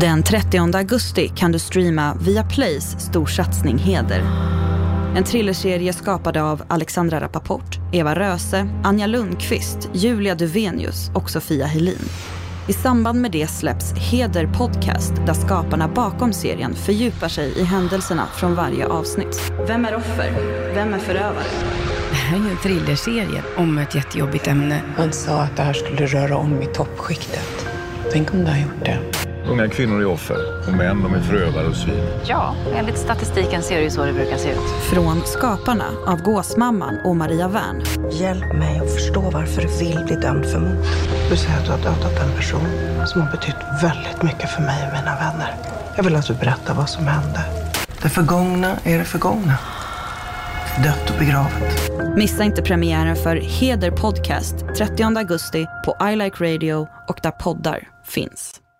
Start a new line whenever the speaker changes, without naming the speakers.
Den 30 augusti kan du streama via Plays storsatsning Heder. En thrillerserie skapad av Alexandra Rappaport, Eva Röse, Anja Lundqvist, Julia Duvenius och Sofia Helin. I samband med det släpps Heder Podcast där skaparna bakom serien fördjupar sig i händelserna från varje avsnitt. Vem är offer? Vem är förövare?
Det här är ju en thrillerserie om ett jättejobbigt ämne.
Man sa att det här skulle röra om i toppskiktet. Tänk om det har gjort det.
Unga kvinnor är offer och män de är förövare och svin.
Ja, enligt statistiken ser det ju så det brukar se ut.
Från skaparna av Gåsmamman och Maria Wern.
Hjälp mig att förstå varför du vill bli dömd för mord.
Du säger att du har dödat en person som har betytt väldigt mycket för mig och mina vänner. Jag vill att du berättar vad som hände. Det förgångna är det förgångna dött och begravet.
Missa inte premiären för Heder Podcast 30 augusti på I Like Radio och där poddar finns.